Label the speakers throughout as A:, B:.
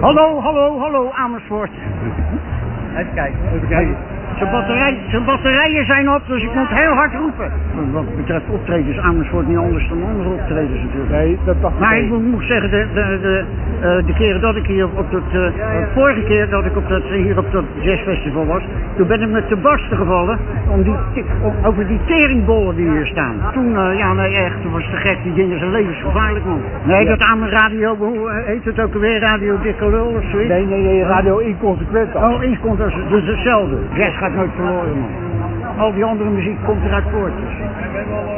A: Hallo, hallo, hallo, Amersfoort.
B: Even kijken. Even kijken.
A: Zijn, batterij, zijn batterijen zijn op, dus ik moet heel hard roepen. Wat betreft optredens, Amersfoort niet anders dan andere optredens natuurlijk.
B: Nee, dat dacht ik
A: Maar ik
B: niet.
A: moet, moet zeggen, de, de, de, eh, de keren dat ik hier op dat... eh, eh, vorige keer dat ik op dat, eh, hier op dat jazzfestival was... toen ben ik met de barsten gevallen om die, ti- om- over die teringbollen die hier staan. Toen, eh, ja nee echt, dat was te gek. Die dingen zijn levensgevaarlijk, man. Nee, dat aan radio, hoe eh, heet het ook alweer? Radio Dikke Lul of zoiets?
B: Nee, nee, nee, radio inconsequent al.
A: Oh, eens komt als dus hetzelfde. Jazz gaat nooit verloren, man. Al die andere muziek komt eruit voort. dus.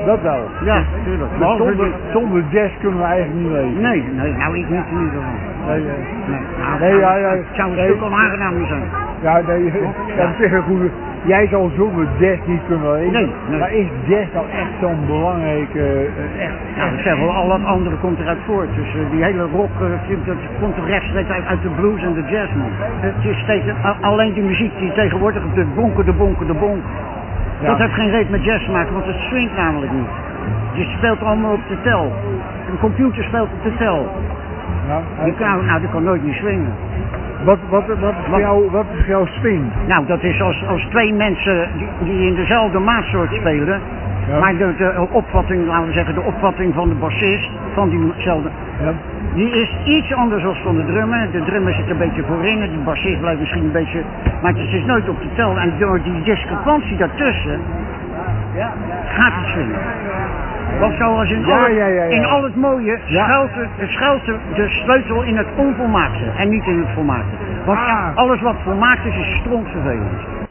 B: Dat wel.
A: Ja, tuurlijk.
B: Maar
A: Behalve
B: zonder,
A: die-
B: zonder jazz kunnen we eigenlijk niet leven.
A: Nee, nee, nou ik niet in ieder geval.
B: Nee, nee.
A: Nee, nou,
B: Nee,
A: het
B: ja,
A: zou-
B: ja.
A: Het zou een
B: Nee.
A: stuk onaangenamer zijn.
B: Ja, nee, ja, dat is een goede. Jij zal zonder jazz niet kunnen leven.
A: Nee, nee.
B: Maar is jazz dan echt zo'n belangrijke... eh, echt,
A: Ja, ik zeg Nou, wel, al dat andere komt eruit voort. Dus eh, die hele rock eh, vindt- dat komt toch rechtstreeks uit, uit de blues en de jazz, man. Het is steeds, a- alleen die muziek die tegenwoordig op de bonken, de bonken, de bonk.
B: Ja.
A: Dat heeft geen reet met jazz te maken, want het swingt namelijk niet. Je speelt allemaal op de tel. Een computer speelt op de tel.
B: nou,
A: Die kan, nou, die kan nooit meer swingen.
B: wat, wat, wat, is voor
A: Wat?
B: jou, wat is voor jou swing?
A: Nou, dat is als, als twee mensen die, die in dezelfde maatsoort spelen.
B: Ja.
A: Maar de, de opvatting, laten we zeggen, de opvatting van de bassist, van diezelfde,
B: Ja.
A: die is iets anders dan van de drummer. De drummer zit een beetje voorin en die bassist blijft misschien een beetje... Maar het is dus nooit op de tel en door die discrepantie daartussen gaat het swingen. Want zoals in,
B: Ja,
A: al, het-
B: ja, ja, ja.
A: in al het mooie
B: Ja.
A: schuilt, de, schuilt de, de sleutel in het onvolmaakte en niet in het volmaakte. Want
B: Ah.
A: alles wat volmaakt is, is strontvervelend.